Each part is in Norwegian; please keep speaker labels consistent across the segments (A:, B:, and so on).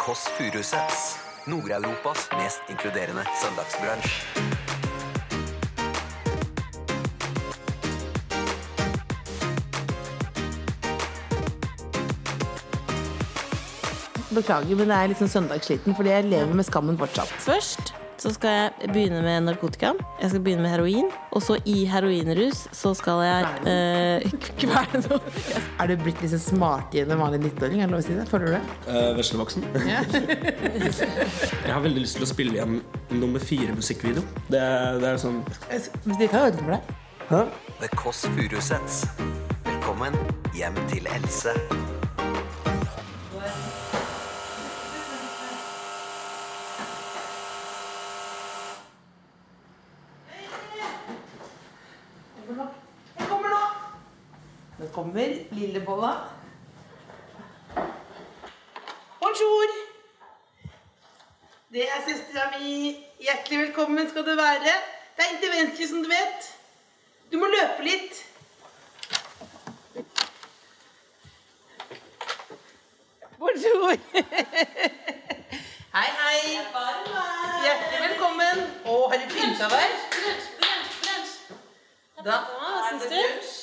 A: Kåss Furuseths. Nord-Europas mest inkluderende søndagsbransj.
B: Beklager, men jeg er litt sånn søndagssliten fordi jeg lever med skammen fortsatt.
C: Først så skal jeg begynne med narkotika. Jeg skal begynne med heroin. Og så i heroinrus så skal jeg eh, kvele noe.
B: Er du blitt liksom smartere enn en vanlig 19-åring? Er det lov å si det? Føler du det?
D: Eh, Veslevoksen. jeg har veldig lyst til å spille igjen nummer fire musikkvideo. Det, det er sånn
B: Hvis du ikke har øynene for deg.
A: The Kåss Furuseths. Velkommen hjem til Else.
B: Nå kommer lillebolla. Bonjour! Det er søstera mi. Hjertelig velkommen skal du være. Det er inntil venstre, som du vet. Du må løpe litt. Bonjour! Hei, hei. Hjertelig velkommen. Å, har du pynta deg? Da
C: Hva
B: er
C: syns
B: det
C: du?
B: lunsj.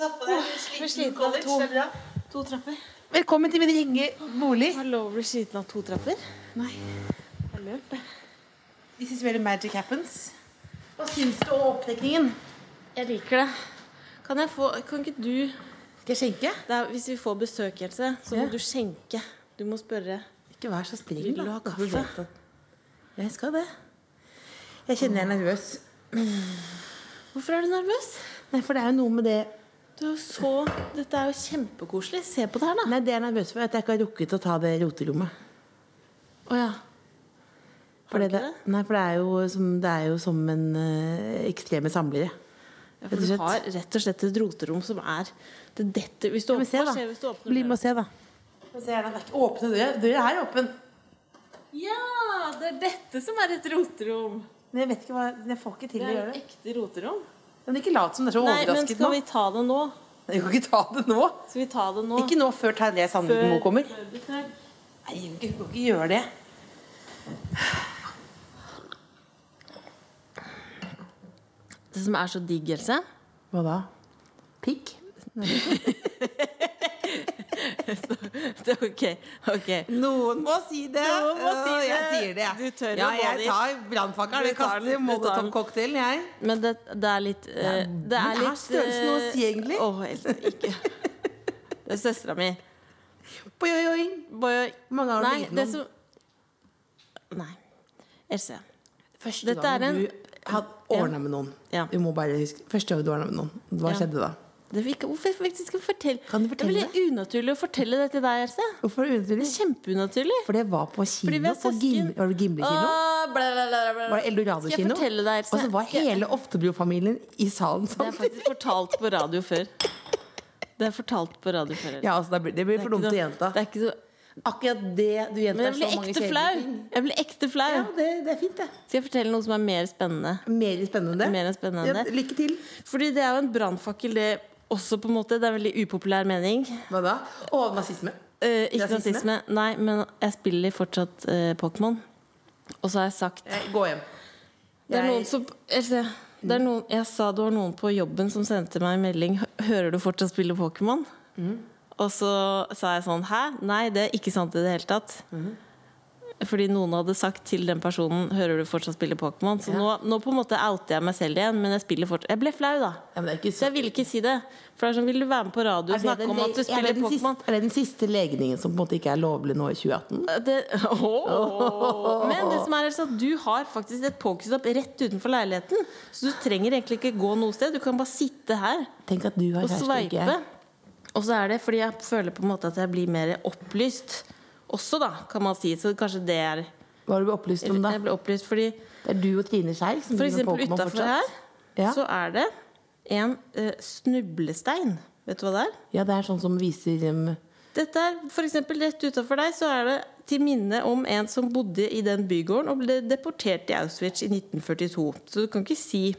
B: Tatt på deg en
C: blir
B: sliten
C: sliten av
B: college.
C: to.
B: det er bra.
C: To trapper.
B: Velkommen til min ringe bolig.
C: Har lov å bli sliten av to trapper?
B: Nei.
C: Jeg løp.
B: This is where the magic happens. Hva syns du om oppdekningen?
C: Jeg liker det. Kan jeg få Kan ikke du
B: Skal jeg skjenke?
C: det er, Hvis vi får besøk, Else, så må
B: Ja.
C: du skjenke. Du må spørre.
B: Ikke vær så streng.
C: Vil du
B: da.
C: ha
B: Du
C: kaffe?
B: vet at- Jeg skal det. Jeg kjenner jeg er nervøs.
C: Hvorfor er du nervøs?
B: Nei, for det er jo noe med det
C: Du er jo så Dette er jo kjempekoselig. Se på det her, da.
B: Nei, det jeg er nervøs for, er at jeg ikke har rukket å ta det roterommet.
C: Å ja.
B: For
C: du
B: det,
C: ikke det?
B: nei, for det er jo som, det er jo som en eh, ekstreme samlere.
C: Ja,
B: Rett og
C: for du
B: slett.
C: har rett og slett et roterom som er Det detter Hvis du
B: Ja, men se,
C: åpner,
B: da.
C: hva skjer hvis du åpner
B: Bli med og
C: døra?
B: se, da. Åpne døra. Døra er åpen.
C: Ja, det er dette som er et roterom.
B: Men jeg vet ikke hva, jeg får ikke til
C: Det
B: å
C: er
B: gjøre det.
C: et ekte roterom.
B: Men ikke lat som det er så
C: Nei, men
B: overrasket nå.
C: skal vi ta det nå?
B: Jeg kan ikke ta det nå.
C: Skal vi ta det nå?
B: Ikke nå før Terje
C: Før-
B: Sandvik Moe kommer.
C: før besøk.
B: Nei, jeg kan ikke, kan ikke gjøre det.
C: Det som er så digg, Else
B: Hva da? Pikk?
C: Det er Ok. ok
B: Noen må si det.
C: Noen må si
B: Åh, Jeg
C: det.
B: sier det, jeg.
C: Du tør å
B: ja,
C: gå
B: jeg
C: dit.
B: tar brannfakkelen.
C: Du
B: Jeg
C: tar den,
B: kaster
C: du tar den.
B: molotovcocktailen, jeg.
C: Men det, det er litt eh, Det
B: men
C: er
B: er
C: litt
B: størrelsen noe å si,
C: eh,
B: egentlig?
C: Åh, Else, ikke Det er søstera mi.
B: Oi, oi, oi.
C: Bare-
B: mange har du
C: Nei,
B: ligget med om?
C: det som Nei. Else.
B: Første
C: Dette er
B: gang
C: en-
B: du hadde ordna med noen.
C: Ja.
B: Du må bare huske Første gang du ordna med noen, hva
C: Ja.
B: skjedde da?
C: Det fikk, hvorfor faktisk skal vi fortelle
B: Kan du
C: Det
B: fortelle?
C: er veldig unaturlig å fortelle det til deg, Else.
B: Hvorfor er det
C: Det
B: unaturlig?
C: er kjempeunaturlig.
B: For det var på kino.
C: Fordi vi er
B: På Gim
C: søsken.
B: var det Gimle-kino?
C: Åh, bla, bla, bla, bla, bla.
B: Var det Eldorado
C: Skal jeg
B: kino?
C: fortelle deg, Else?
B: Og så var
C: Skal jeg-
B: hele Oftebro-familien i salen
C: Det er
B: samtidig.
C: faktisk fortalt på radio før. Det er fortalt på radio før. Else.
B: Ja, altså, det blir, det blir for dumt
C: Det
B: til
C: er ikke
B: jenta.
C: noe- Det er ikke så,
B: Akkurat det du
C: men
B: gjentar
C: jeg
B: så
C: ble
B: mange
C: ekte
B: kjedelige
C: flau.
B: ting.
C: Jeg ble ekte flau.
B: Ja, det, det er fint, det.
C: Skal jeg fortelle noe som er mer spennende?
B: Mer spennende.
C: Mer spennende.
B: Ja, lykke til.
C: Fordi det er jo en brannfakkel, det også, på en måte. Det er en veldig upopulær mening.
B: Hva da? Å, nazisme.
C: Eh, ikke
B: Rasisme?
C: nazisme, nei, men jeg spiller fortsatt eh, Pokémon. Og så har jeg sagt
B: Eh, Gå hjem.
C: Det er
B: Jeg-
C: noen som Else, det er noen, Jeg sa det var noen på jobben som sendte meg en melding «Hø- Hører du fortsatt spille Pokémon?
B: Mm.
C: Og så sa jeg sånn Hæ? Nei, det er ikke sant i det hele tatt.
B: Mm-hmm.
C: Fordi noen hadde sagt til den personen Hører du fortsatt spille Pokémon? Så nå, nå på en måte outer jeg meg selv igjen, men jeg spiller fortsatt Jeg ble flau, da.
B: Ja, men det er ikke
C: Så jeg ville ikke si det. For det er sånn, vil du være med på radio og snakke om at du
B: er, det
C: spiller
B: den
C: Pokémon?
B: siste, er det den siste legningen som på en måte ikke er lovlig nå i 2018?
C: Det, Åh. Men det som er altså, at du har faktisk et pokerstopp rett utenfor leiligheten. Så du trenger egentlig ikke gå noe sted. Du kan bare sitte her
B: Tenk at du har
C: og
B: kjæreste, ikke
C: sveipe.
B: jeg.
C: Og så er det fordi jeg føler på en måte at jeg blir mer opplyst også, da, kan man si. Så kanskje det er
B: Hva har du blitt opplyst om, da?
C: Jeg ble opplyst fordi
B: Det er du og Trine Skei som
C: for
B: driver med
C: eksempel
B: Pokémon
C: utafor
B: fortsatt.
C: her
B: Ja.
C: så er det en eh, snublestein. Vet du hva det er?
B: ja, det er sånn som viser um,
C: Dette er for eksempel rett utenfor deg, så er det til minne om en som bodde i den bygården og ble deportert til Auschwitz i 1942. Så du kan ikke si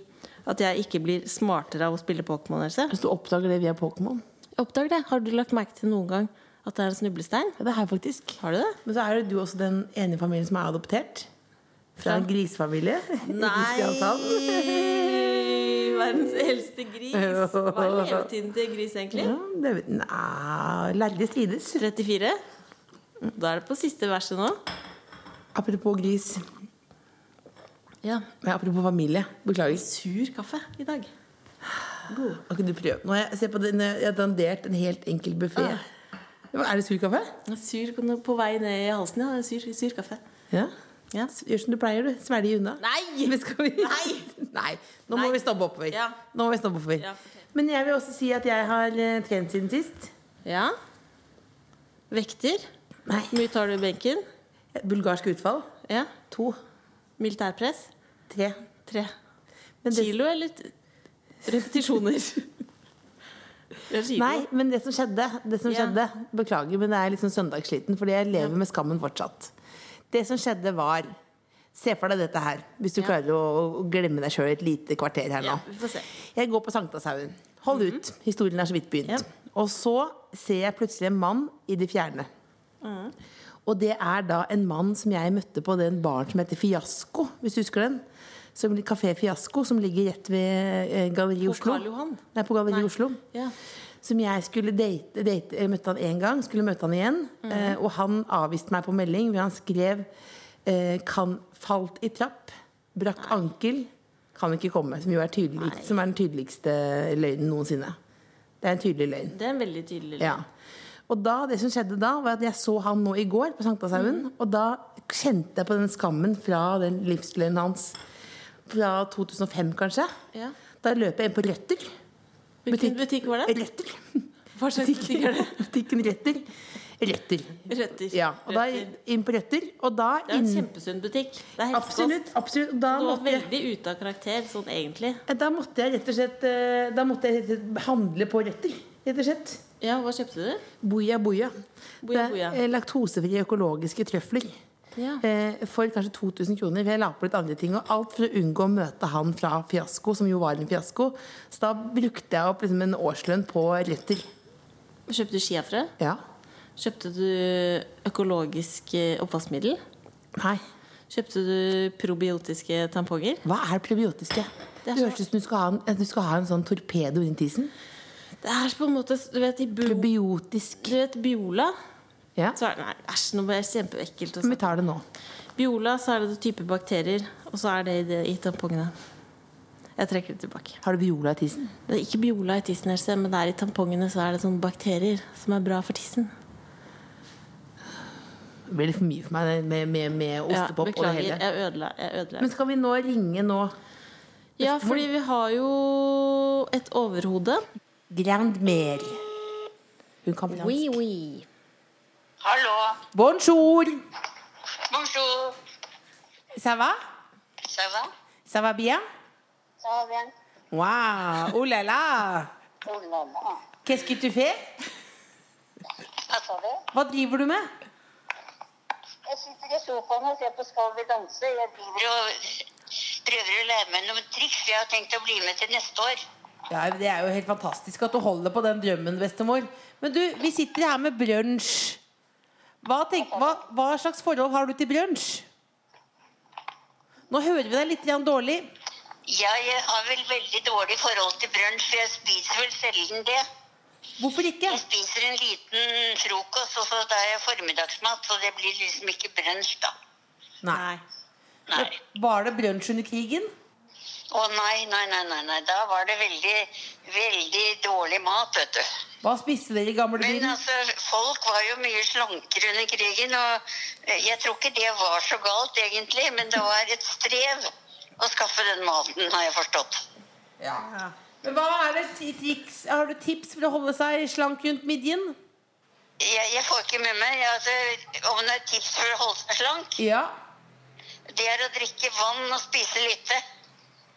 C: at jeg ikke blir smartere av å spille Pokémon. Else.
B: Hvis du oppdager det via Pokémon.
C: Oppdag det. Har du lagt merke til noen gang At det er en snublestein?
B: Ja, det er jeg faktisk.
C: Har du det?
B: Men så er det du også den ene i familien som er adoptert. Fra en grisefamilie. i Kristiansand.
C: Verdens eldste gris. Hva er levetiden til gris, egentlig?
B: Ja, det vet Nei, lærde strides.
C: 34? Da er det på siste verset nå.
B: Apropos gris.
C: Ja.
B: Nei, apropos familie. Beklager.
C: Sur kaffe i dag.
B: Har ikke du prøvd? Nå har jeg, se på den, eh, jeg har dandert en helt enkel buffé.
C: Ah.
B: Er det sur kaffe?
C: Sur på vei ned i halsen, ja. Sur, sur kaffe.
B: Ja.
C: Ja.
B: Gjør som du pleier, du. Svelg unna.
C: Nei!
B: Men skal vi...
C: Nei!
B: Nei. Nå
C: Nei.
B: må vi stabbe oppover.
C: Ja.
B: Nå må vi stabbe oppover.
C: Ja, fortell.
B: Men jeg vil også si at jeg har eh, trent siden sist.
C: Ja. Vekter.
B: Nei.
C: Hvor mye tar du i benken?
B: Bulgarsk utfall.
C: Ja.
B: To.
C: Militærpress.
B: Tre.
C: Tre.
B: Men det-
C: Kilo eller t- repetisjoner? Det er kilo.
B: Nei, men det som skjedde, det som
C: Ja.
B: skjedde Beklager, men jeg er litt sånn søndagssliten, fordi jeg lever med skammen fortsatt. Det som skjedde, var Se for deg dette her, hvis du
C: Ja.
B: klarer å, å glemme deg sjøl et lite kvarter her nå.
C: Ja, vi får se. Mhm.
B: Jeg går på Sankthanshaugen. Hold ut. Historien er så vidt begynt.
C: Ja.
B: Og så ser jeg plutselig en mann i det fjerne.
C: Mhm.
B: Og det er da en mann som jeg møtte på den baren som heter Fiasko, hvis du husker den. Som, Café Fiasko, som ligger rett ved eh, Galleri
C: På
B: Oslo.
C: Karl Johan?
B: Nei, på Galleri
C: Nei.
B: Oslo.
C: Ja.
B: Som jeg skulle date, date jeg Møtte han én gang, skulle møte han igjen.
C: Mhm.
B: Eh, og han avviste meg på melding, hvor han skrev eh, kan, Falt i trapp, brakk ankel, kan ikke komme. Som jo er, tydelig, som er den tydeligste løgnen noensinne. Det er en tydelig løgn.
C: Det er en veldig tydelig lyd.
B: Ja. Og da, det som skjedde da, var at jeg så han nå i går på Sankthanshaugen.
C: Mhm.
B: Og da kjente jeg på den skammen fra den livsløgnen hans fra 2005, kanskje.
C: Ja.
B: Da løper jeg inn på Røtter.
C: Hvilken butikk var det?
B: Røtter.
C: Hva slags butikk er det?
B: Butikken Røtter. Røtter.
C: Røtter.
B: Ja, og da
C: Røtter.
B: inn på Røtter, og da
C: Det er en
B: inn...
C: kjempesunn butikk. Det er helt
B: Absolutt. absolutt. Da,
C: Du var
B: måtte jeg,
C: veldig ute av karakter, sånn egentlig.
B: da måtte jeg rett og slett eh, Da måtte jeg rett og slett handle på Røtter, rett og slett.
C: Ja, hva kjøpte du?
B: Boia boia.
C: Boia boia.
B: Det er, eh, Laktosefrie økologiske trøfler.
C: Ja.
B: Eh, For kanskje 2000 kroner. For jeg la på litt andre ting. Og alt for å unngå å møte han fra Fiasko, som jo var en fiasko. Så da brukte jeg opp liksom en årslønn på Røtter.
C: Kjøpte du skiafrø?
B: Ja.
C: Kjøpte du økologisk eh, oppvaskmiddel?
B: Nei.
C: Kjøpte du probiotiske tamponger?
B: Hva er probiotiske?
C: Det
B: Det
C: er så-
B: høres ut som du skal, ha en, at du skal ha en sånn torpedo rundt isen.
C: Det er på en måte Du vet, i bu
B: Probiotisk.
C: du vet Biola?
B: Ja.
C: Så er det, nei, æsj, nå ble det kjempeekkelt. å
B: Men vi
C: snakke.
B: tar det nå.
C: Biola, så er det en type bakterier, og så er det i, det, i tampongene. Jeg trekker det tilbake.
B: Har du viola i tissen?
C: Det er ikke Biola i tissen, Else, men det er i tampongene så er det sånne bakterier som er bra for tissen.
B: Det blir litt for mye for meg med, med, med ostepop og det
C: beklager,
B: hele.
C: jeg ødela. Jeg ødela.
B: Men skal vi nå ringe nå
C: Ja, fordi vi har jo et overhode.
B: Grand Mer? Hun kan fransk.
C: oui.
E: Allô,
B: Bonjour!
E: bonjour,
B: Ça va?
E: ça va
B: Ça va bien?
E: Ça va bien
B: Wow! Oh là là!
E: Oh là là
B: Qu'est-ce que tu fais?
E: Attendez,
B: Hva driver du med?
E: jeg sitter i sofaen og ser på Skal vi danse. Jeg driver og prøver å lære meg noen triks. Jeg har tenkt å bli med til neste år.
B: Ja, det er jo helt fantastisk at du holder på den drømmen, bestemor. Men du, vi sitter her med brunsj. Hva, tenk- hva, hva slags forhold har du til brunsj? Nå hører vi deg litt grann dårlig.
E: Jeg eh, har vel veldig dårlig forhold til brunsj, for jeg spiser vel sjelden det.
B: Hvorfor ikke?
E: Jeg spiser en liten frokost, og så tar jeg formiddagsmat, så det blir liksom ikke brunsj, da.
B: Nei.
E: Nei.
B: Var det brunsj under krigen?
E: Å nei, nei, nei, nei, nei. Da var det veldig, veldig dårlig mat, vet du.
B: Hva spiste dere i
E: Men
B: gamlebyen?
E: altså, folk var jo mye slankere under krigen, og eh, jeg tror ikke det var så galt egentlig, men det var et strev å skaffe den maten, har jeg forstått.
B: Ja. Men hva er det ti- triks? Har du tips for å holde seg slank rundt midjen?
E: Jeg, jeg får ikke med meg altså, om det er tips for å holde seg slank.
B: Ja.
E: Det er å drikke vann og spise lite.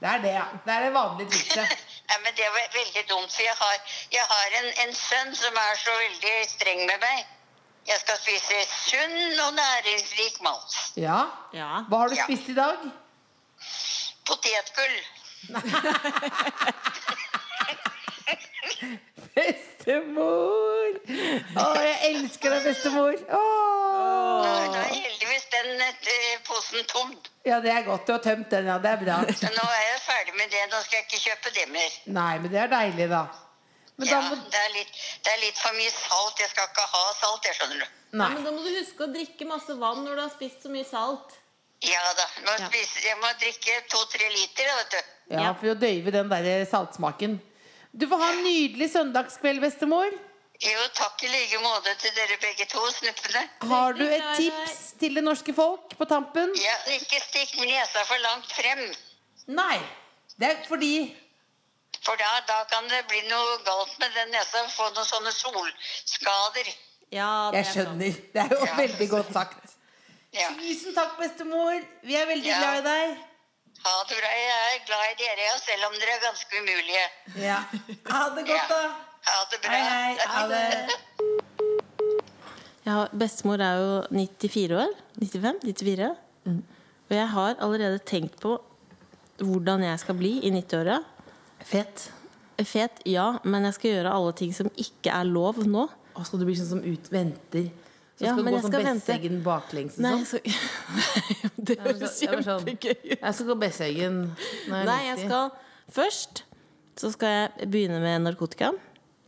B: Det er det, ja. Det er det vanlige trikset.
E: Nei, men det var veldig dumt, for jeg har, jeg har en, en sønn som er så veldig streng med meg. Jeg skal spise sunn og næringsrik mat.
B: Ja.
C: Ja.
B: Hva har du
E: Ja.
B: spist i dag?
E: Potetgull.
B: Best. bestemor! Å, jeg elsker deg, bestemor! Å!
E: Nå nå er heldigvis den eh, posen tom.
B: Ja, det er godt du har tømt den, ja. Det er bra.
E: Så nå er jeg ferdig med det. Nå skal jeg ikke kjøpe det mer.
B: Nei, men det er deilig, da. Men
E: Ja,
B: da må
E: det er litt, det er litt for mye salt. Jeg skal ikke ha salt, jeg skjønner du.
B: Nei.
C: Men da må du huske å drikke masse vann når du har spist så mye salt.
E: Ja da. Nå spiser, jeg må drikke to-tre liter, da, vet du.
B: Ja, for å døyve den der eh, saltsmaken. Du får ha en nydelig søndagskveld, bestemor.
E: Jo, takk i like måte til dere begge to, snuppene.
B: Har du et tips til det norske folk på tampen?
E: Ja, ikke stikk nesa for langt frem,
B: Nei. Det er fordi
E: for da, da kan det bli noe galt med den nesa. Få noen sånne solskader.
C: Ja, det
B: Jeg
C: er sant.
B: skjønner. Det er jo
E: Ja.
B: veldig godt sagt.
E: Ja.
B: Tusen takk, bestemor. Vi er veldig
E: Ja.
B: glad i deg.
E: Ha det bra. Jeg er glad i dere, ja, selv om dere er ganske umulige.
B: Ja. Ha det
E: Ja.
B: godt, da.
E: Ha det bra.
B: Hei, hei. Ha det.
C: Ja, bestemor er jo 94 år. 95? 94.
B: Mm.
C: Og jeg har allerede tenkt på hvordan jeg skal bli i 90-åra.
B: Fett.
C: Fet, ja, men jeg skal gjøre alle ting som ikke er lov nå.
B: Og skal du bli sånn som ut venter? Så
C: Ja,
B: skal du
C: men
B: gå
C: jeg
B: sånn
C: skal vente.
B: Besseggen baklengs og
C: Nei,
B: sånn?
C: jeg skal... Det
B: Jeg var
C: høres
B: sånn- jeg var sånn,
C: kjempegøy ut.
B: Jeg skal gå Besseggen når jeg er
C: Nei, jeg
B: 90.
C: skal først så skal jeg begynne med narkotika.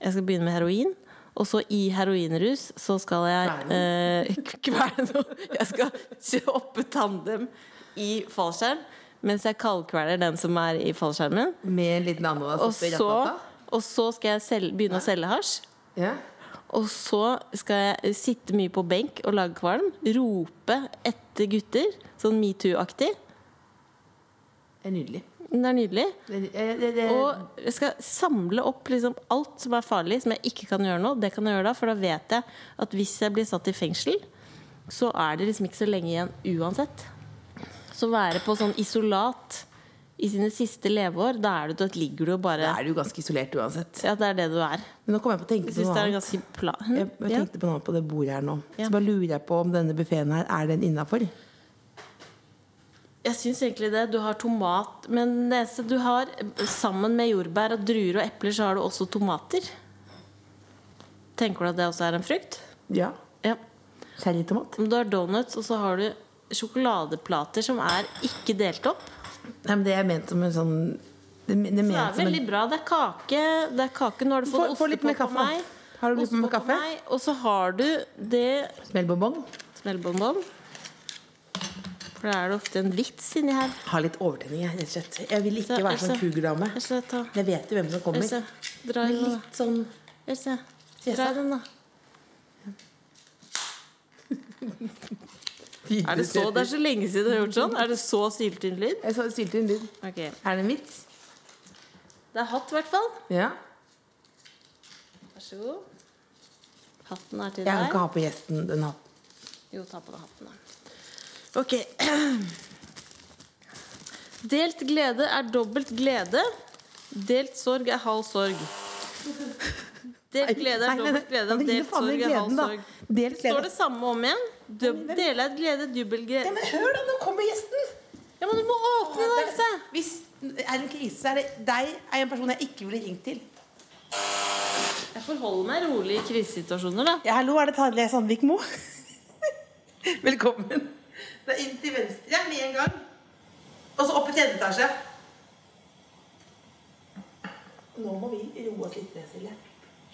C: Jeg skal begynne med heroin. Og så i heroinrus så skal jeg eh, kvele noe. Jeg skal hoppe tandem i fallskjerm mens jeg kaldkveler den som er i fallskjermen.
B: Med en liten altså, ananas
C: Og
B: oppi
C: så,
B: rattata?
C: og så skal jeg selge, begynne å selge hasj.
B: Ja.
C: Og så skal jeg sitte mye på benk og lage kvalm. Rope etter gutter. Sånn metoo-aktig.
B: Det er nydelig.
C: Den er nydelig.
B: Det, det, det, det,
C: Og jeg skal samle opp liksom alt som er farlig, som jeg ikke kan gjøre nå. Det kan jeg gjøre da, for da vet jeg at hvis jeg blir satt i fengsel, så er det liksom ikke så lenge igjen uansett. Så være på sånn isolat i sine siste leveår, da er du, da ligger du jo bare
B: da er du jo ganske isolert uansett.
C: Ja, det er det du er.
B: Men nå kom jeg på å tenke
C: Jeg
B: på
C: syns
B: noe
C: det er en
B: annet.
C: ganske plan...
B: Jeg, jeg
C: Ja.
B: tenkte på noe på det bordet her nå.
C: Ja.
B: Så bare lurer jeg på om denne buffeen her, er den innafor?
C: Jeg syns egentlig det. Du har tomat, men det eneste du har Sammen med jordbær og druer og epler, så har du også tomater. Tenker du at det også er en frukt?
B: Ja.
C: Ja.
B: Cherrytomat?
C: Du har donuts, og så har du sjokoladeplater som er ikke delt opp.
B: Nei, men det er ment som en sånn Det, det er
C: Det er
B: ment som
C: veldig
B: en
C: bra. Det er kake. Det er kake. Nå har du fått
B: Få- få litt
C: ostepop
B: mer
C: på
B: kaffe, da.
C: meg.
B: Har du litt
C: Ostepop
B: mer
C: på
B: kaffe?
C: meg, Og så har du det
B: smellbonbong.
C: smellbonbon. For da er det ofte en vits inni her.
B: Har litt overtenning, jeg, rett og slett. Jeg vil ikke
C: Så,
B: være sånn
C: Else.
B: kugerdame.
C: Else, ta.
B: Jeg vet jo hvem som kommer.
C: Else, dra i
B: Men
C: den, da.
B: litt sånn
C: Else, dra
B: Fjesa.
C: i den, da. Er det, så, det er så lenge siden du har gjort sånn. Er det så syltynn lyd?
B: Jeg så stilte en lyd.
C: Ok. Det
B: Er det en vits?
C: er hatt, i hvert fall.
B: Ja.
C: Vær så god. Hatten er til
B: Jeg kan
C: deg.
B: ikke ha på gjesten den hatten.
C: Jo, ta på deg hatten, da.
B: Ok.
C: Delt glede er dobbelt glede. Delt sorg er halv sorg. Delt glede
B: Nei,
C: er
B: nei, nei.
C: dobbelt glede.
B: Men gi
C: Delt
B: faen i
C: sorg er halv
B: gleden, da.
C: sorg.
B: Delt
C: Står
B: glede.
C: det samme om igjen? Dub- Dele er glede, dubbel
B: Ja,
C: glede
B: men hør, da! Nå kommer gjesten!
C: Ja, men du må åpne, da, Else!
B: Hvis det er en krise, så er det deg er en person jeg ikke ville ringt til.
C: Jeg forholder meg rolig i krisesituasjoner, da.
B: Ja, hallo, er det Tarjei Sandvik Mo? Velkommen.
F: Det er inn til venstre med en gang. Og så opp i tredje etasje.
B: Nå må vi roe oss litt ned, Silje.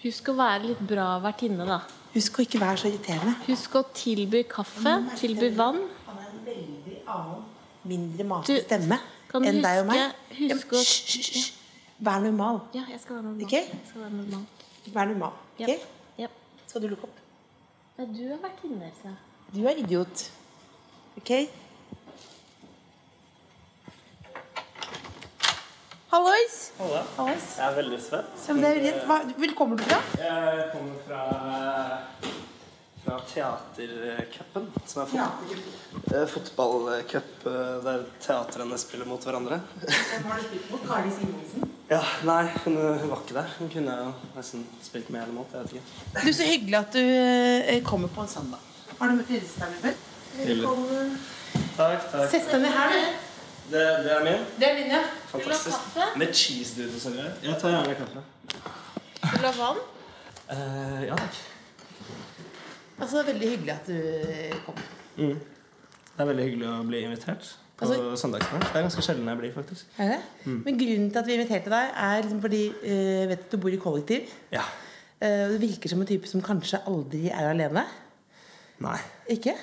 C: Husk å være litt bra vertinne, da.
B: Husk å ikke være så irriterende.
C: Husk å tilby kaffe, tilby vann.
B: Han er en veldig annen, mindre
C: Du,
B: matete stemme
C: kan du
B: enn deg og meg.
C: huske- huske
B: Ja, men
C: å-
B: hysj, hysj, hysj. Vær normal.
C: Ja, jeg skal være normal.
B: Ok.
C: Jeg skal være normal.
B: Vær normal.
C: Ja.
B: Ok?
C: Ja.
B: Skal du lukke opp?
C: Nei, du har vært inne, Else.
B: Du er idiot. OK? Hallois. Hallois.
D: Jeg er veldig svett.
B: Ja, men det er jo rett. Hva, hvor kommer du fra?
D: Jeg kommer fra, fra teatercupen, som er fot eh, fotballcup eh, der teatrene spiller mot hverandre.
B: Kari Simonsen.
D: Ja, nei, hun eh, hun var ikke der. Hun kunne jo nesten spilt med eller mot. Jeg vet ikke.
B: Du, Så hyggelig at du eh, kommer på en søndag. Har du møtt lillesøsteren min før?
D: Takk, takk.
B: Sett deg ned her, du.
D: Det, det er min.
B: Det er min, ja.
D: Fantastisk. Med cheese doodles og greier. Jeg tar gjerne kaffe.
C: Vil du ha vann?
D: Eh, ja takk.
B: Altså, det er veldig hyggelig at du eh, kom.
D: Det er veldig hyggelig å bli invitert på
B: Altså-
D: søndagsmorgen. Det er ganske sjelden jeg blir, faktisk.
B: Er det?
D: Mm.
B: Men grunnen til at vi inviterte deg, er liksom fordi eh, vet at du bor i kollektiv.
D: Ja.
B: Eh, og du virker som en type som kanskje aldri er alene.
D: Nei.
B: Ikke?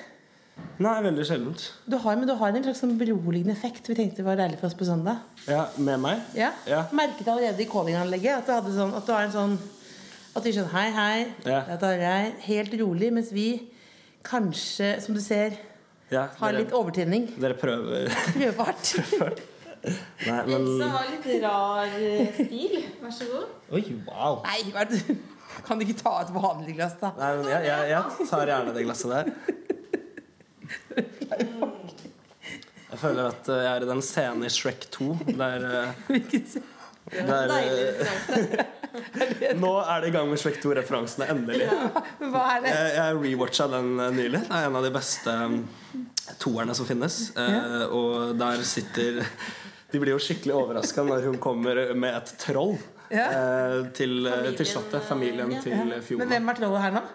D: Nei, veldig sjeldent.
B: Du har, men du har en slags sånn beroligende effekt. Vi tenkte det var deilig for oss på søndag.
D: Ja, med meg?
B: Ja.
D: Ja.
B: Merket allerede i callinganlegget at du hadde sånn At du har en sånn At du er sånn Hei, hei.
D: Ja.
B: Det er Tarjei. Helt rolig. Mens vi kanskje, som du ser,
D: Ja,
B: har litt overtenning.
D: Dere prøver.
B: Prøvefart.
D: Nei, men
C: har litt rar stil. Vær så god.
D: Oi, wow.
B: Nei, hva er det du Kan du ikke ta et vanlig glass, da?
D: Nei, men jeg, jeg, jeg tar gjerne det glasset der. Jeg føler at eh, jeg er i den scenen i Shrek 2 der, eh, der eh, Nå er det i gang med Shrek 2-referansene, endelig.
B: Hva er det?
D: Jeg, jeg rewatcha den eh, nylig. Det er en av de beste mm, toerne som finnes. Eh, og der sitter De blir jo skikkelig overraska når hun kommer med et troll
B: Ja.
D: eh, til, eh, til slottet. Familien til eh,
B: Men
D: Fiona.
B: hvem er trollet her nå?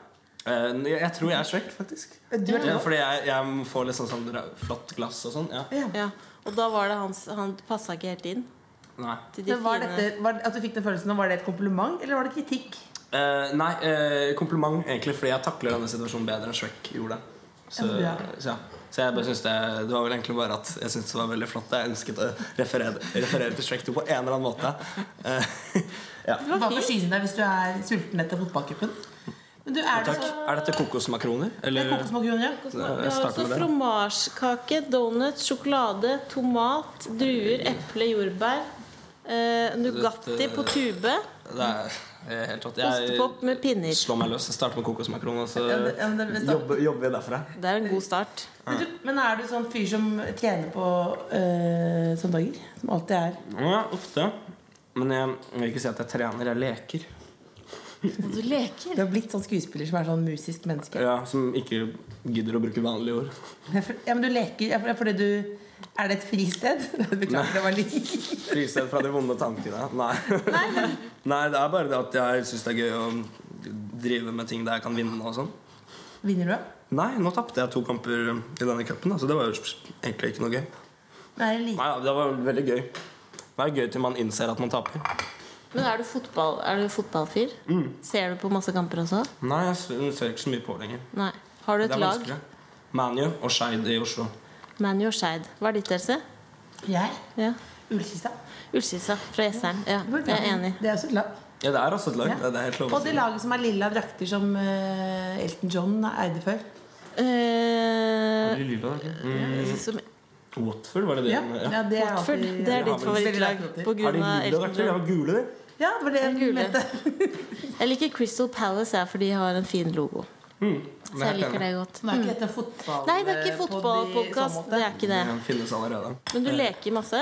D: Eh, jeg, jeg tror jeg er Shrek, faktisk.
B: Du er
D: Ja,
B: troll?
D: fordi jeg, jeg får litt sånn, sånn ra- flott glass og sånn. Ja.
C: Ja. Og da var det hans Han passa ikke helt inn.
D: Nei.
C: Til de
B: Men var
C: fine
B: dette, var, at du fikk den følelsen, var det et kompliment, eller var det kritikk?
D: Eh, nei eh, kompliment, egentlig, fordi jeg takler denne situasjonen bedre enn Shrek gjorde. Så,
B: Ja,
D: så, ja. så jeg bare synes det, det var vel egentlig bare at jeg syntes det var veldig flott. Jeg ønsket å referere, referere til Shrek 2 på en eller annen måte. Eh, ja.
B: Hva forsyner deg hvis du er sulten etter fotballcupen? Men du er det sånn-
D: Takk.
B: så
D: Er dette kokosmakroner? Eller
B: kokosmakroner, ja.
C: Vi
D: jeg
C: har
D: starter
C: også
D: med det.
C: altså fromasjkake, donut, sjokolade, tomat, druer, eple, jordbær. Eh, Nugatti
D: Dette-
C: på tube.
D: Det er eh, helt rått.
C: Ostepop med pinner.
D: slår meg løs. Jeg starter med kokosmakroner, og så
B: Ja, det- ja, men det-
D: jobber, jobber vi derfra.
C: Det er en god start.
B: Men, du, men er du sånn fyr som tjener på øh, søndager? Som alltid er
D: Ja, ofte. Men jeg jeg vil ikke si at jeg trener. Jeg leker.
C: Og du leker.
B: Du har blitt sånn skuespiller som er sånn musisk menneske.
D: Ja, som ikke gidder å bruke vanlige ord.
B: Ja, for- ja, men du leker ja, for- fordi du Er det et fristed? Beklager, det var litt
D: Fristed fra de vonde tankene. Nei. Nei, det er bare det at jeg syns det er gøy å drive med ting der jeg kan vinne og sånn.
B: Vinner du?
D: Nei, nå tapte jeg to kamper i denne cupen, da, så det var jo egentlig ikke noe gøy.
B: Nei, jeg liker.
D: Nei, det var veldig gøy. Det er gøy til man innser at man taper.
C: Men er du, fotball, er du fotballfyr?
D: Mm.
C: Ser du på masse kamper også?
D: Nei, jeg ser ser ikke så mye på lenger.
C: Nei. Har du
D: Det
C: et
D: er
C: lag?
D: vanskelig. ManU og Skeid i Oslo.
C: ManU og Skeid. Hva er ditt, Else?
B: Jeg?
C: Ja.
B: Ullkista.
C: Ullskissa fra Jesseren. Ja, jeg er enig.
B: Det er også et lag.
D: Ja, det er også et lag.
B: Ja.
D: Det det er helt lov å
B: Og det
D: si.
B: laget som er lilla drakter, som øh, Elton John eide før.
C: Eh,
D: Veldig lilla, da. Mm.
C: som,
D: Watford, var det det?
B: Ja, ja det er
C: Watford.
B: alltid-
C: Det er
D: Ja,
C: ditt
D: men-
C: favorittlag på
D: Er
C: grunn
D: de
C: av
D: lilla
C: Elton
D: drakter? De
C: John.
D: var gule, de.
B: Ja, det var det jeg
C: gule.
B: mente.
C: Jeg liker Crystal Palace jeg, fordi de har en fin logo. Så jeg liker det godt.
B: Nå er ikke dette fotball
C: Nei, det er ikke
B: eh, podd i så
C: fotballpodkast.
B: måte.
C: Det er ikke det.
D: Den finnes allerede.
C: Men du leker masse.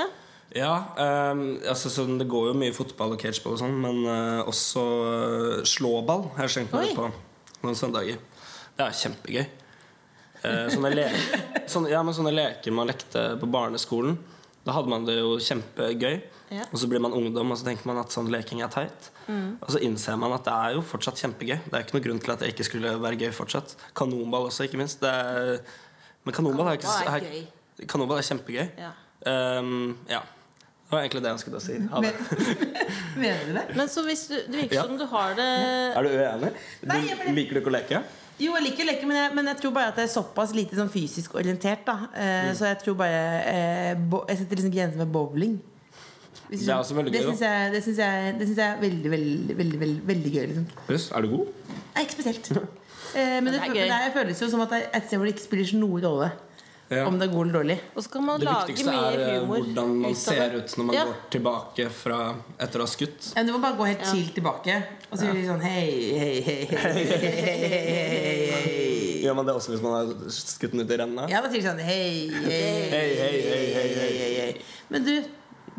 D: Ja, ehm, altså sånn, det går jo mye fotball og cageball og sånn, men eh, også eh, slåball har jeg skjenkt meg litt
C: Oi.
D: på noen søndager. Det er kjempegøy. Eh, sånne, le sånne, ja, men sånne leker man lekte på barneskolen, da hadde man det jo kjempegøy.
C: Ja. Mm.
D: Og så blir man ungdom, og så tenker man at sånn leking er teit. Og så innser man at det er jo fortsatt kjempegøy. Det er ikke noen grunn til at det ikke skulle være gøy fortsatt. Kanonball også, ikke minst. Det er, men kanonball er, ikke,
C: Kanonball er
D: har- Kanonball er kjempegøy.
C: Ja.
D: Ehm, ja. Det var egentlig det jeg skulle til å si. Ha det.
B: Mener du det?
C: Men så hvis du, det virker
D: Ja.
C: som du har det
D: Er du uenig? Du,
B: Nei, jeg ble-
D: Liker du ikke å leke?
B: Jo, jeg liker å leke, men jeg, men jeg tror bare at det er såpass lite sånn fysisk orientert. da eh,
D: Mm.
B: Så jeg tror bare eh, bo, Jeg setter liksom grenser med bowling. Hvis du
D: Det er
B: skjønner.
D: også veldig
B: det
D: gøy, da.
B: syns jeg, det syns jeg, det syns jeg er veldig, veldig, veldig, veldig, veldig gøy. Liksom.
D: Russ, er du god?
B: Nei, ikke spesielt. Eh, men
C: Men
B: det,
C: det er
B: fø- men
C: gøy.
B: det her føles jo som at det er et sted hvor det ikke spiller noen rolle
D: Ja.
B: om det er god eller dårlig.
C: Og så kan man
D: Det
C: lage
D: viktigste
C: mye
D: er eh,
C: humor.
D: hvordan man
C: ut av det.
D: ser ut når man
C: Ja.
D: går tilbake fra etter å ha skutt.
B: Ja, du må bare gå helt chill tilbake og så gjør de sånn hei, hei, hei, hei, hei, hei, hei, hei, hei, hei.
D: Gjør man det også hvis man har skutt den ut i renna?
B: Ja, da sier de sånn hei, hei, hei,
D: Hei, hei, hei, hei, hei.
B: hei, hei. Men du,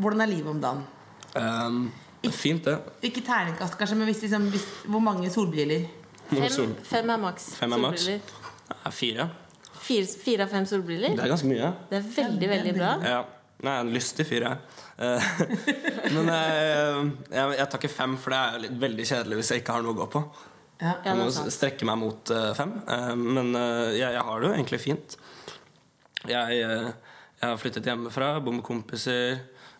B: hvordan er livet om dagen?
D: Ehm, det er fint, det.
B: Ikke terningkast, kanskje, men hvis, liksom, hvis, hvor mange solbriller?
D: Noen
C: Fem,
D: sol-
C: fem er maks.
D: Fem er maks.
C: solbriller.
D: Ja, fire.
C: Fire, fire av fem solbriller.
D: Det er ganske mye.
C: Det er veldig, veldig bra.
D: Ja. Nei, jeg er en lystig fyr, jeg. Eh, Men eh, jeg, jeg tar ikke fem, for det er jo litt veldig kjedelig hvis jeg ikke har noe å gå på.
B: sånn- Ja.
C: Ja,
D: Jeg
C: det
D: må
C: er sant.
D: strekke meg mot eh, fem. Eh, men eh, jeg, jeg har det jo egentlig fint. Jeg, eh, jeg har flyttet hjemmefra, bor med kompiser.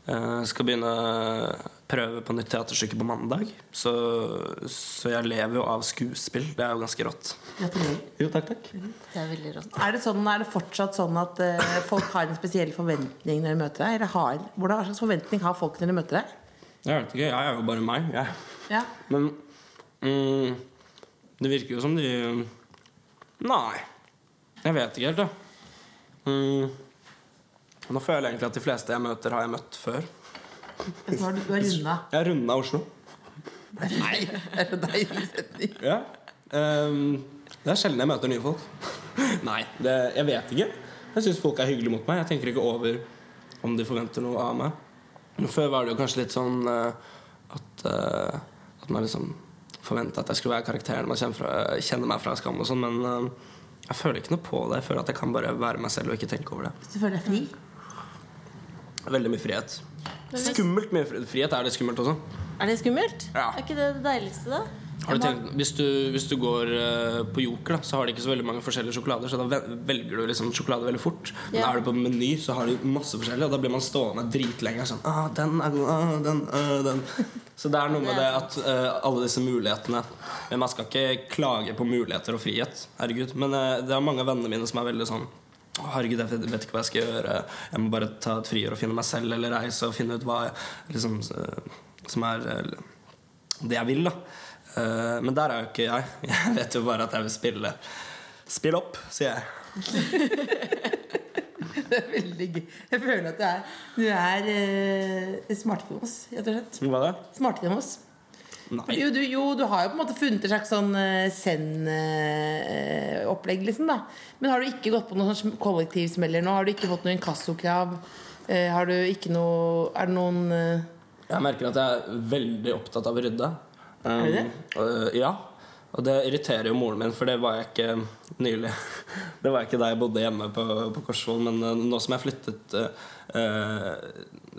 D: eh, skal begynne å prøve på nytt teaterstykke på mandag. Så, så jeg lever jo av skuespill. Det er jo ganske rått.
B: Gratulerer.
D: Jo, takk, takk.
C: Det er veldig rått.
B: Er det, sånn, er det fortsatt sånn at eh, folk har en spesiell forventning når de møter deg? Eller har, hvordan, hva slags forventning har folk når de møter deg?
D: Jeg vet ikke, jeg er jo bare meg. Jeg.
B: Ja.
D: Men mm, det virker jo som de Nei. Jeg vet ikke helt, jeg. Mm, nå føler jeg egentlig at de fleste jeg møter, har jeg møtt før.
B: Så har du, du er runda.
D: Jeg har runda Oslo.
B: Nei, det er jo deilig setning.
D: Ja. Ehm, det er sjelden jeg møter nye folk. Nei, det, jeg vet ikke. Jeg syns folk er hyggelige mot meg. Jeg tenker ikke over om de forventer noe av meg. Men Før var det jo kanskje litt sånn eh, at, eh, at man liksom forventa at jeg skulle være karakteren man kjenner, fra, kjenner meg fra Skam og sånn, men eh, jeg føler ikke noe på det. Jeg føler at jeg kan bare være meg selv og ikke tenke over det.
B: Hvis du føler deg fri.
D: Veldig mye frihet. Skummelt mye frihet. Frihet er litt skummelt også.
C: Er det skummelt?
D: Ja.
C: Er ikke det det deiligste, da?
D: Har du tenkt, hvis, du, hvis du går eh, på Joker, da, så har de ikke så veldig mange forskjellige sjokolader. Så da ve- velger du liksom sjokolade veldig fort. Men
C: Ja.
D: er du på Meny, så har de masse forskjellige, og da blir man stående dritlenge. Sånn, ah, den er god, ah, den, ah, den. Så det er noe med det at eh, alle disse mulighetene Men man skal ikke klage på muligheter og frihet. Herregud. Men eh, det er mange av vennene mine som er veldig sånn «Å, Herregud, jeg vet ikke hva jeg skal gjøre. Jeg må bare ta et friår og finne meg selv, eller reise og finne ut hva jeg, liksom, eh, som er eh, det jeg vil, da. Eh, men der er jo ikke jeg. Jeg vet jo bare at jeg vil spille. Spill opp, sier jeg.
B: Det er veldig gøy. Jeg føler at du er, du er eh, smartere enn oss, rett og slett.
D: Hva da?
B: Smartere enn oss.
D: Nei.
B: Jo du, jo, du har jo på en måte funnet et slags sånn send-opplegg, liksom, da. Men har du ikke gått på noen sånn sm- kollektivsmeller nå? Har du ikke fått noe inkassokrav? Eh, har du ikke noe Er det noen eh,
D: Jeg merker at jeg er veldig opptatt av å rydde. Um,
B: Er du det?
D: øh, ja. Og det irriterer jo moren min, for det var jeg ikke nylig. Det var jeg ikke da jeg bodde hjemme på, på Korsvoll, men øh, nå som jeg flyttet øh, øh,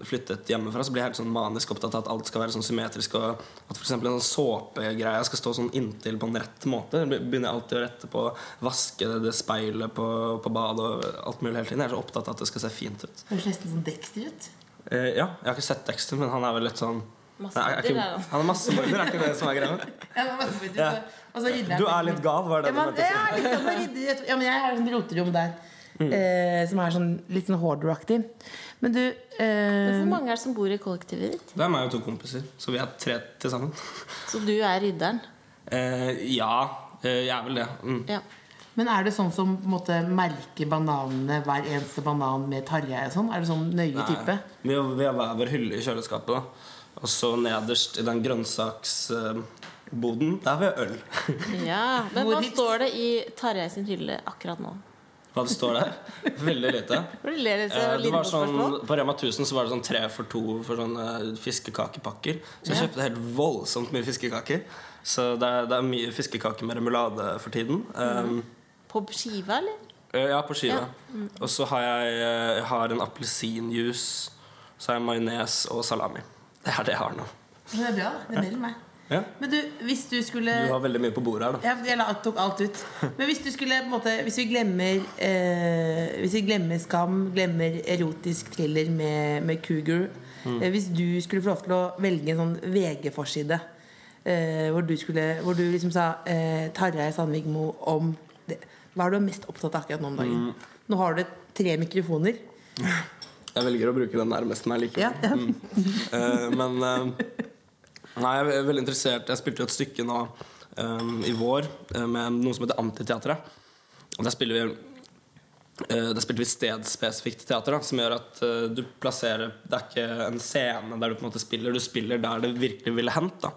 D: Flyttet hjemmefra, så blir jeg helt sånn manisk opptatt av at alt skal være sånn symmetrisk. Og at f.eks. en sånn såpegreie skal stå sånn inntil på en rett måte. Jeg begynner alltid å rette på vaske det speilet på, på badet og alt mulig hele tiden. Jeg er så opptatt av at det skal se fint ut.
B: Høres nesten sånn Dexter ut.
D: Eh, ja, jeg har ikke sett teksten, men han er vel litt sånn
C: Massemorder,
D: Nei, er ikke-
C: er han.
D: Han er massemorder, er ikke det som er greia?
B: Ja, men hva vet du,
D: Ja.
B: så- og så rydder jeg
D: Du
B: opp.
D: er litt gal,
B: ja,
D: var det du
B: men,
D: mente? å si.
B: ja, liksom, å rydde, rett- ja, men jeg har et sånt roterom der. Eh, som er sånn litt sånn hoarder-aktig. Men du eh,
C: Hvor mange er det som bor i kollektivet ditt?
D: Det er meg og to kompiser, så vi er tre til sammen.
C: Så du er rydderen?
D: Eh, ja, eh, jeg er vel det. Mm.
C: Ja.
B: Men er det sånn som på en måte, merker bananene hver eneste banan med tarje og sånn? Er det sånn nøye type?
D: Nei, Eh, Vi har vi har hver vår hylle i kjøleskapet. Da. Og så nederst i den grønnsaksboden, der har vi øl.
C: ja. Men
B: Hvor
C: hva
B: vips-
C: står det i Tarjei sin hylle akkurat nå?
D: Hva det står der? Veldig lite.
C: For det ler litt, så
D: Eh,
C: det
D: Det
C: var
D: var
C: et lite
D: sånn, på Rema 1000 så var det sånn tre for to for sånne eh, fiskekakepakker. Så jeg kjøpte helt voldsomt mye fiskekaker. Så det er, det er mye fiskekaker med remulade for tiden. Um,
C: spørsmål. På skiva, eller?
D: Eh, Ja, Mm. på skiva. Og så har jeg, eh, jeg har en appelsinjuice, så har jeg majones og salami. Det er det jeg har nå.
B: Men det er bra. Det melder meg.
D: Ja.
B: Men du, hvis du skulle
D: Du har veldig mye på bordet her, da.
B: jeg, jeg la- tok alt ut. Men hvis du skulle på en måte, Hvis vi glemmer eh, Hvis vi glemmer Skam, glemmer erotisk thriller med, med Cougar
D: Mm.
B: eh, Hvis du skulle få lov til å velge en sånn VG-forside eh, hvor, du skulle- hvor du liksom sa eh, Tarjei Sandvigmo om det. Hva er du mest opptatt av akkurat nå om dagen?
D: Mm.
B: Nå har du tre mikrofoner.
D: Jeg velger å bruke den nærmest meg likevel.
B: Ja, ja.
D: Eh, men eh, Nei, jeg er veldig interessert. Jeg spilte jo et stykke nå eh, i vår eh, med noe som heter Antiteatret. Og der spiller vi eh, Der spilte vi stedspesifikt teater, da, som gjør at eh, du plasserer Det er ikke en scene der du på en måte spiller, du spiller der det virkelig ville hendt. da.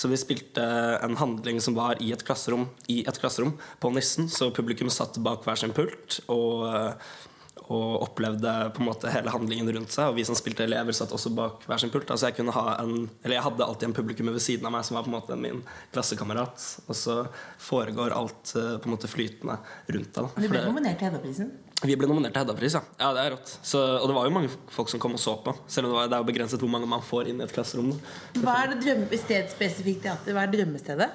D: Så vi spilte en handling som var i et klasserom, i et klasserom på Nissen. Så publikum satt bak hver sin pult og, eh, og opplevde på en måte hele handlingen rundt seg. Og vi som spilte elever, satt også bak hver sin pult. Da. Så jeg, kunne ha en, eller jeg hadde alltid en publikum ved siden av meg som var på en måte min klassekamerat. Og så foregår alt eh, på en måte flytende rundt deg. da.
B: Du
D: For
B: ble
D: det-
B: nominert til Hedda-prisen.
D: vi ble nominert til Hedda-pris, ja. ja det er rått. Så, og det var jo mange folk som kom og så på. Selv om det, var, det er jo begrenset hvor mange man får inn i et klasserom. da.
B: Hva er det drømme, stedspesifikt teater? Hva er drømmestedet?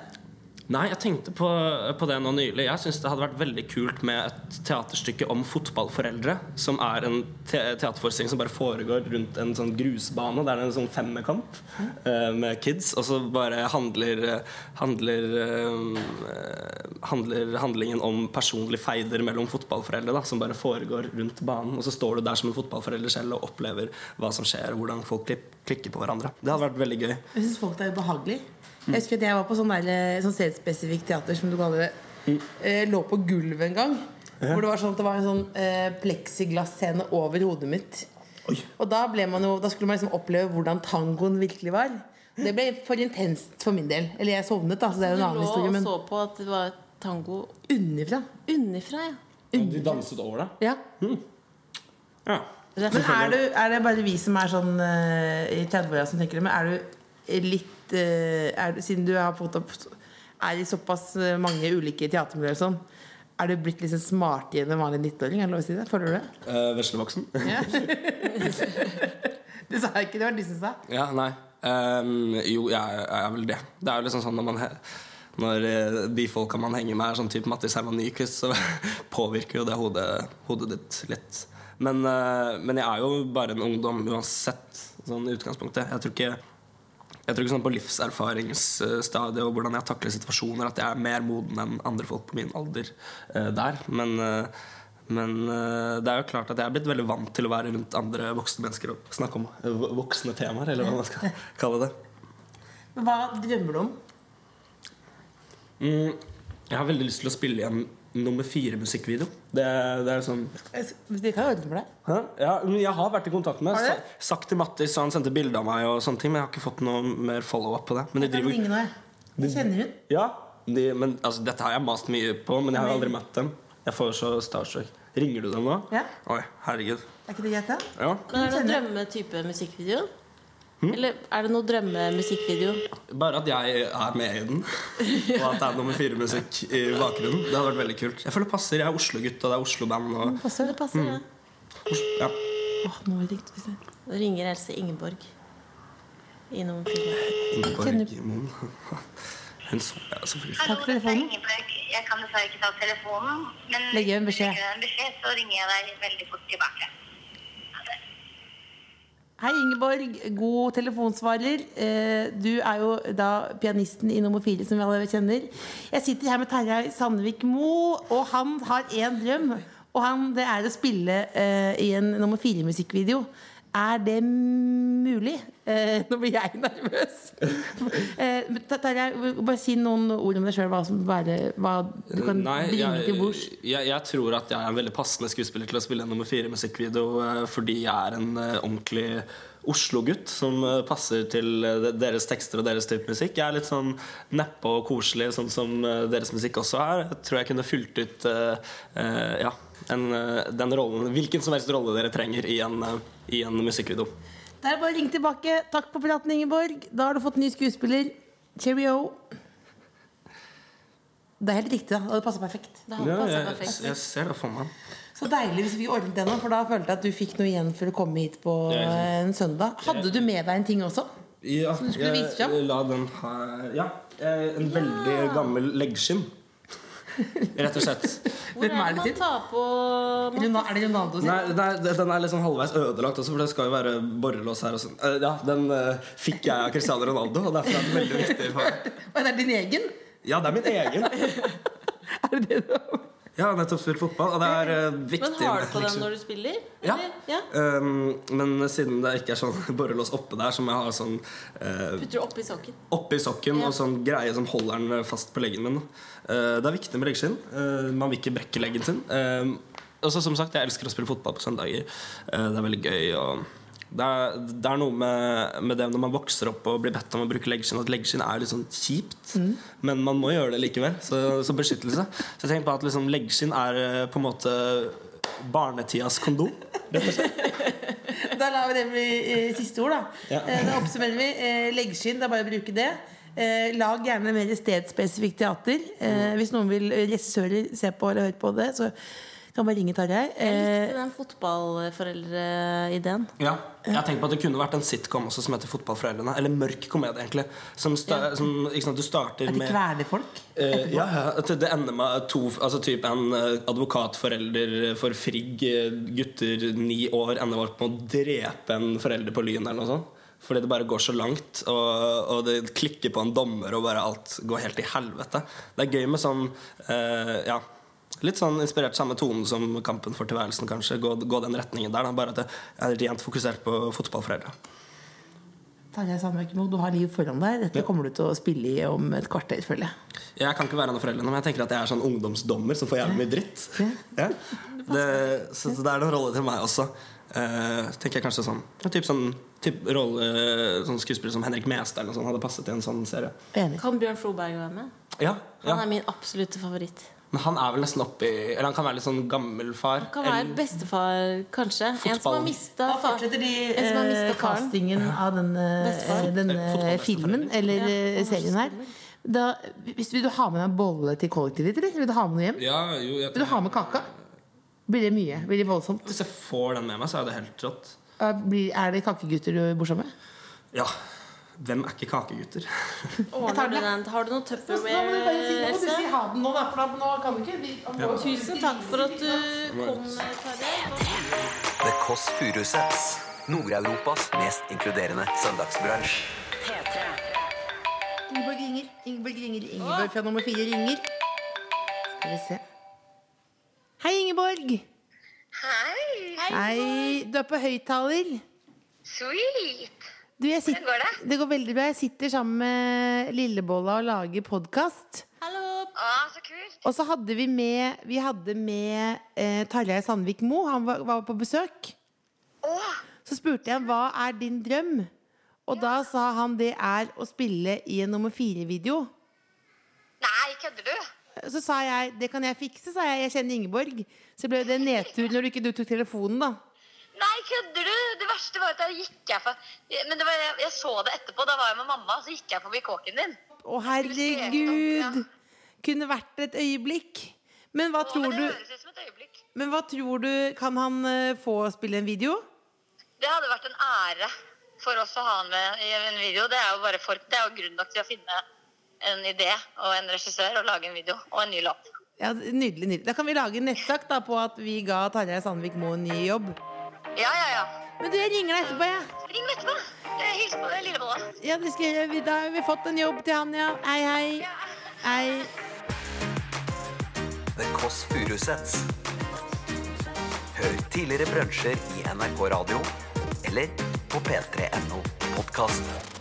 D: Nei, jeg tenkte på, på det nå nylig. Jeg syns det hadde vært veldig kult med et teaterstykke om fotballforeldre. Som er en te teaterforestilling som bare foregår rundt en sånn grusbane. Der det er en sånn femmekamp eh, med kids. Og så bare handler, handler, eh, handler handlingen om personlige feider mellom fotballforeldre. Da, som bare foregår rundt banen. Og så står du der som en fotballforelder selv og opplever hva som skjer, og hvordan folk klik- klikker på hverandre. Det hadde vært veldig gøy.
B: Jeg syns folk er ubehagelig. Jeg husker at jeg var på sånn, der, sånn stedspesifikt teater, som du kaller det. Eh, lå på gulvet en gang. Hvor det var sånn at det var en sånn eh, pleksiglasscene over hodet mitt.
D: Oi.
B: Og da, ble man jo, da skulle man liksom oppleve hvordan tangoen virkelig var. Det ble for intenst for min del. Eller jeg sovnet, da, så det er jo en
C: Du
B: annen
C: lå
B: historie.
C: og
B: Men
C: så på at det var tango
B: underfra.
C: unnifra, ja.
D: Du danset over det? Mm.
B: Ja.
D: Ja.
B: Men er, du, er det bare vi som er sånn eh, i 30-åra som tenker det? Men er du litt eh, er, du- Siden du har på en måte er i såpass eh, mange ulike teatermiljøer og sånn, er du blitt liksom smartere enn en vanlig 19-åring? Er det lov å si det? Føler du det?
D: Eh, Veslevoksen?
B: Det sa jeg ikke, det var du som sa.
D: Ja, nei. Ehm, jo, jeg, er- jeg er vel det. Det er jo liksom sånn når man he- Når eh, de folka man henger med, er sånn type Mattis Herman Nyquist, så påvirker jo det hodet, hodet ditt litt. Men, eh, men jeg er jo bare en ungdom uansett, sånn i utgangspunktet. Jeg tror ikke jeg tror ikke sånn på livserfaringsstadiet og hvordan jeg takler situasjoner, at jeg er mer moden enn andre folk på min alder eh, der. Men, eh, men eh, det er jo klart at jeg er blitt veldig vant til å være rundt andre voksne mennesker og snakke om eh, vo- voksne temaer, eller hva man skal kalle det.
B: Men hva drømmer du om?
D: Mm, jeg har veldig lyst til å spille i en nummer fire-musikkvideo. Det, det er sånn
B: De kan jo ordne for deg.
D: Hæ? Ja, men jeg har vært i kontakt med
B: Har du det?
D: sa- Sagt til Mattis, og han sendte bilde av meg, og sånne ting men jeg har ikke fått noe mer follow-up på det. Men de
B: Jeg kan
D: driver
B: ringe nå, jeg. Jeg Kjenner hun?
D: Ja, de, men altså, Dette har jeg mast mye på, men jeg har aldri møtt dem. Jeg får så starstruck. Ringer du dem nå?
B: Ja.
D: Oi, herregud.
B: Er ikke det greit, da?
D: Ja.
C: Men er det noen drømmetype musikkvideo?
D: Hm?
C: Eller er det noen drømmemusikkvideo?
D: Bare at jeg er med i den, og at det er nummer fire-musikk i bakgrunnen. Det hadde vært veldig kult. Jeg føler det passer. Jeg er Oslo-gutt, og det er Oslo-band. Og...
B: Passer
C: Det passer, det.
D: Oslo, ja.
B: Åh, nå ringte vi seg.
C: Nå ringer Else Ingeborg i nummer fire.
D: Ingeborg Moen. Hun så ja, selvfølgelig.
E: Hallo,
B: for
E: dette er
B: telefonen.
E: Ingeborg. Jeg kan dessverre ikke ta telefonen, men
B: Legg igjen beskjed.
E: legger jeg en beskjed, så ringer jeg deg veldig fort tilbake.
B: Hei, Ingeborg. God telefonsvarer. Eh, Du er jo da pianisten i nummer fire, som vi alle kjenner. Jeg sitter her med Terjei Sandvik Mo, og han har én drøm. Og han, det er å spille eh, i en nummer fire-musikkvideo. Er det mulig? Eh, nå blir jeg nervøs. Eh, men Ta- Terjei, bare si noen ord om deg sjøl. Hva, som være- hva du kan bringe til
D: jeg,
B: bords.
D: jeg, jeg tror at jeg er en veldig passende skuespiller til å spille en nummer fire-musikkvideo eh, fordi jeg er en eh, ordentlig Oslo-gutt som eh, passer til eh, de- deres tekster og deres type musikk. Jeg er litt sånn neppe og koselig, sånn som eh, deres musikk også er. Jeg tror jeg kunne fylt ut eh, eh, ja, en, eh, den rollen, hvilken som helst rolle dere trenger i en, eh, i en musikkvideo.
B: Da er det bare å ringe tilbake. Takk for praten, Ingeborg. Da har du fått ny skuespiller. Cheerio. Det er helt riktig. da, og Det passer perfekt.
C: Det hadde passet
D: jeg,
C: perfekt.
D: jeg ser det for meg.
B: Så deilig hvis vi ordnet det nå, for da følte jeg at du fikk noe igjen for å komme hit på
D: Ja, ikke sant.
B: eh, en søndag. Hadde du med deg en ting også?
D: Ja,
B: du skulle
D: jeg-
B: vise Ah. fram?
D: La den her Ja. eh, En veldig gammel leggskinn. Rett og slett.
C: Hvor er
B: Hvem
C: det
B: er det
C: man
B: til?
C: tar på
B: Rona- Er det Ronaldo sin?
D: Nei, nei, det- den er liksom halvveis ødelagt også, for det skal jo være borrelås her og sånn. Eh, Ja, den eh, fikk jeg av Cristiano Ronaldo, og derfor er den veldig viktig for meg.
B: Oi, det er din egen?
D: Ja, det er min egen.
B: Er det det du
D: Jeg har nettopp spilt fotball, og det er eh, viktig
C: Men har du
D: med
C: på den
B: liksom.
D: leggskinn.
C: når du spiller?
D: Ja.
C: Eller? ja.
D: Um, men siden det ikke er sånn borrelås oppe der, så må jeg ha sånn eh,
C: Putter du oppi sokken?
D: oppi sokken
C: Ja.
D: og sånn greie som holder den fast på leggen min. Eh, det er viktig med leggskinn. Eh, man vil ikke brekke leggen sin. Eh, og så som sagt, jeg elsker å spille fotball på søndager. Eh, det er veldig gøy. Og det, er, det er noe med, med det når man vokser opp og blir bedt om å bruke leggskinn, at leggskinn er litt sånn kjipt. Men man må gjøre det likevel, så, så beskyttelse. Så jeg tenker på at liksom, leggskinn er eh, på en måte barnetidas kondom.
B: Da lar vi det bli eh, siste ord, da.
D: Ja.
B: Eh, da oppsummerer vi. Eh, leggskinn, det er bare å bruke det. Eh, lag gjerne mer stedspesifikt teater. Eh, hvis noen vil eh, regissører se på eller høre på det, så Kan bare ringe Tarjei. Eh,
C: Den fotballforeldreideen.
D: Ja, jeg tenker på at Det kunne vært en sitcom også som heter 'Fotballforeldrene'. Eller mørk komedie, egentlig. Som, sta som ikke sant, Du starter
B: at de
D: med
B: kveler folk.
D: Eh, ja, ja, at det ender med to, altså typ en eh, advokatforelder for Frigg, eh, gutter ni år, ender opp med å drepe en forelder på Lyn eller noe sånt. Fordi det bare går så langt, og, og det klikker på en dommer, og bare alt går helt i helvete. Det er gøy med sånn eh, Ja. Litt sånn inspirert samme tonen som Kampen for tilværelsen, kanskje. Gå, gå den retningen der. Da. Bare at det er rent fokusert på fotballforeldre.
B: Tarjei Sandberg Mo, du har livet foran deg. Dette kommer du til å spille i om et kvarter, føler jeg.
D: Jeg kan ikke være en av foreldrene, men jeg tenker at jeg er sånn ungdomsdommer som får jævlig mye dritt. Ja. Det, så, så det er noen rolle til meg også. Eh, tenker jeg kanskje sånn en typ sånn, typ rolle, sånn skuespiller som Henrik Mestad eller noe sånt hadde passet i en sånn serie.
B: Enig.
C: Kan Bjørn Floberg være med?
D: Ja, ja.
C: Han er min absolutte favoritt.
D: Men han er vel nesten oppi Eller han kan være litt sånn gammel far.
C: Kan være
D: Eller-
C: bestefar, kanskje. En som
D: Fotball.
C: har mista
B: Da fortsetter de
C: En som har
B: eh,
C: mistet faren.
B: castingen av denne,
C: Bestefar.
B: denne
D: Fotballbesteforeldre.
B: eh, filmen, eller eh, serien her. Da, hvis, vil du ha med deg en bolle til kollektivet ditt, eller vil du ha med noe hjem?
D: Ja, jo, jeg,
B: Vil du ha med kaka? Blir det mye? Blir det voldsomt?
D: Hvis jeg får den med meg, så er det helt rått.
B: Er- Blir, er det kakegutter du bor sammen med?
D: Ja. Hvem er ikke kakegutter?
C: Ordner du den? Har du noe tøffer med Else?
B: ha den nå, da, for nå kan du ikke
C: Tusen takk for at du kom, Tarjei.
A: The Kåss Furuseths. Nord-Europas mest inkluderende søndagsbransj.
B: Ingeborg ringer. Ingeborg ringer. Ingeborg fra nummer fire ringer. Skal vi se. Hei, Ingeborg.
E: Hei!
B: Hei. Du er på høyttaler.
E: Sweet!
B: Du, jeg sitter,
E: Hvordan går det?
B: det går veldig bra. Jeg sitter sammen med Lillebolla og lager podkast.
E: Å, så kult!
B: Og så hadde vi med, vi hadde med eh, Tarjei Sandvik Mo. Han var, var på besøk.
E: Å,
B: Så spurte jeg hva er din drøm? Og da sa han det er å spille i en nummer fire-video.
E: nei, kødder du?
B: Så sa jeg det kan jeg fikse, sa jeg. Jeg kjenner Ingeborg. Så ble det nedtur når du ikke du tok telefonen, da.
E: Nei, kødder du? Det verste var at da gikk jeg for... Men det var, jeg, jeg så det etterpå, da var jeg med mamma, så gikk jeg forbi kåken din.
B: Å, herregud! Kunne vært et øyeblikk. Men hva
E: Å,
B: tror
E: men
B: du,
E: det høres ut som et øyeblikk.
B: men hva tror du Kan han eh, få spille en video?
E: Det hadde vært en ære for oss å ha han med i en video. Det er jo, bare for, det er jo grunn nok til å finne en idé og en regissør og lage en video og en ny låt.
B: Ja, Nydelig. nydelig Da kan vi lage en nettsak da på at vi ga Tarjei Sandvik Moe en ny jobb.
E: Ja, ja, ja.
B: Men du, jeg ringer deg etterpå, jeg.
E: Ring meg etterpå. Eh, Hils på deg, lillebolla.
B: Ja. det skal jeg gjøre. Vi- Da har vi fått en jobb til han, ja. Hei, hei. Hei.
A: The Kåss Furuseths. Hør tidligere brunsjer i NRK Radio eller på p3.no podkast.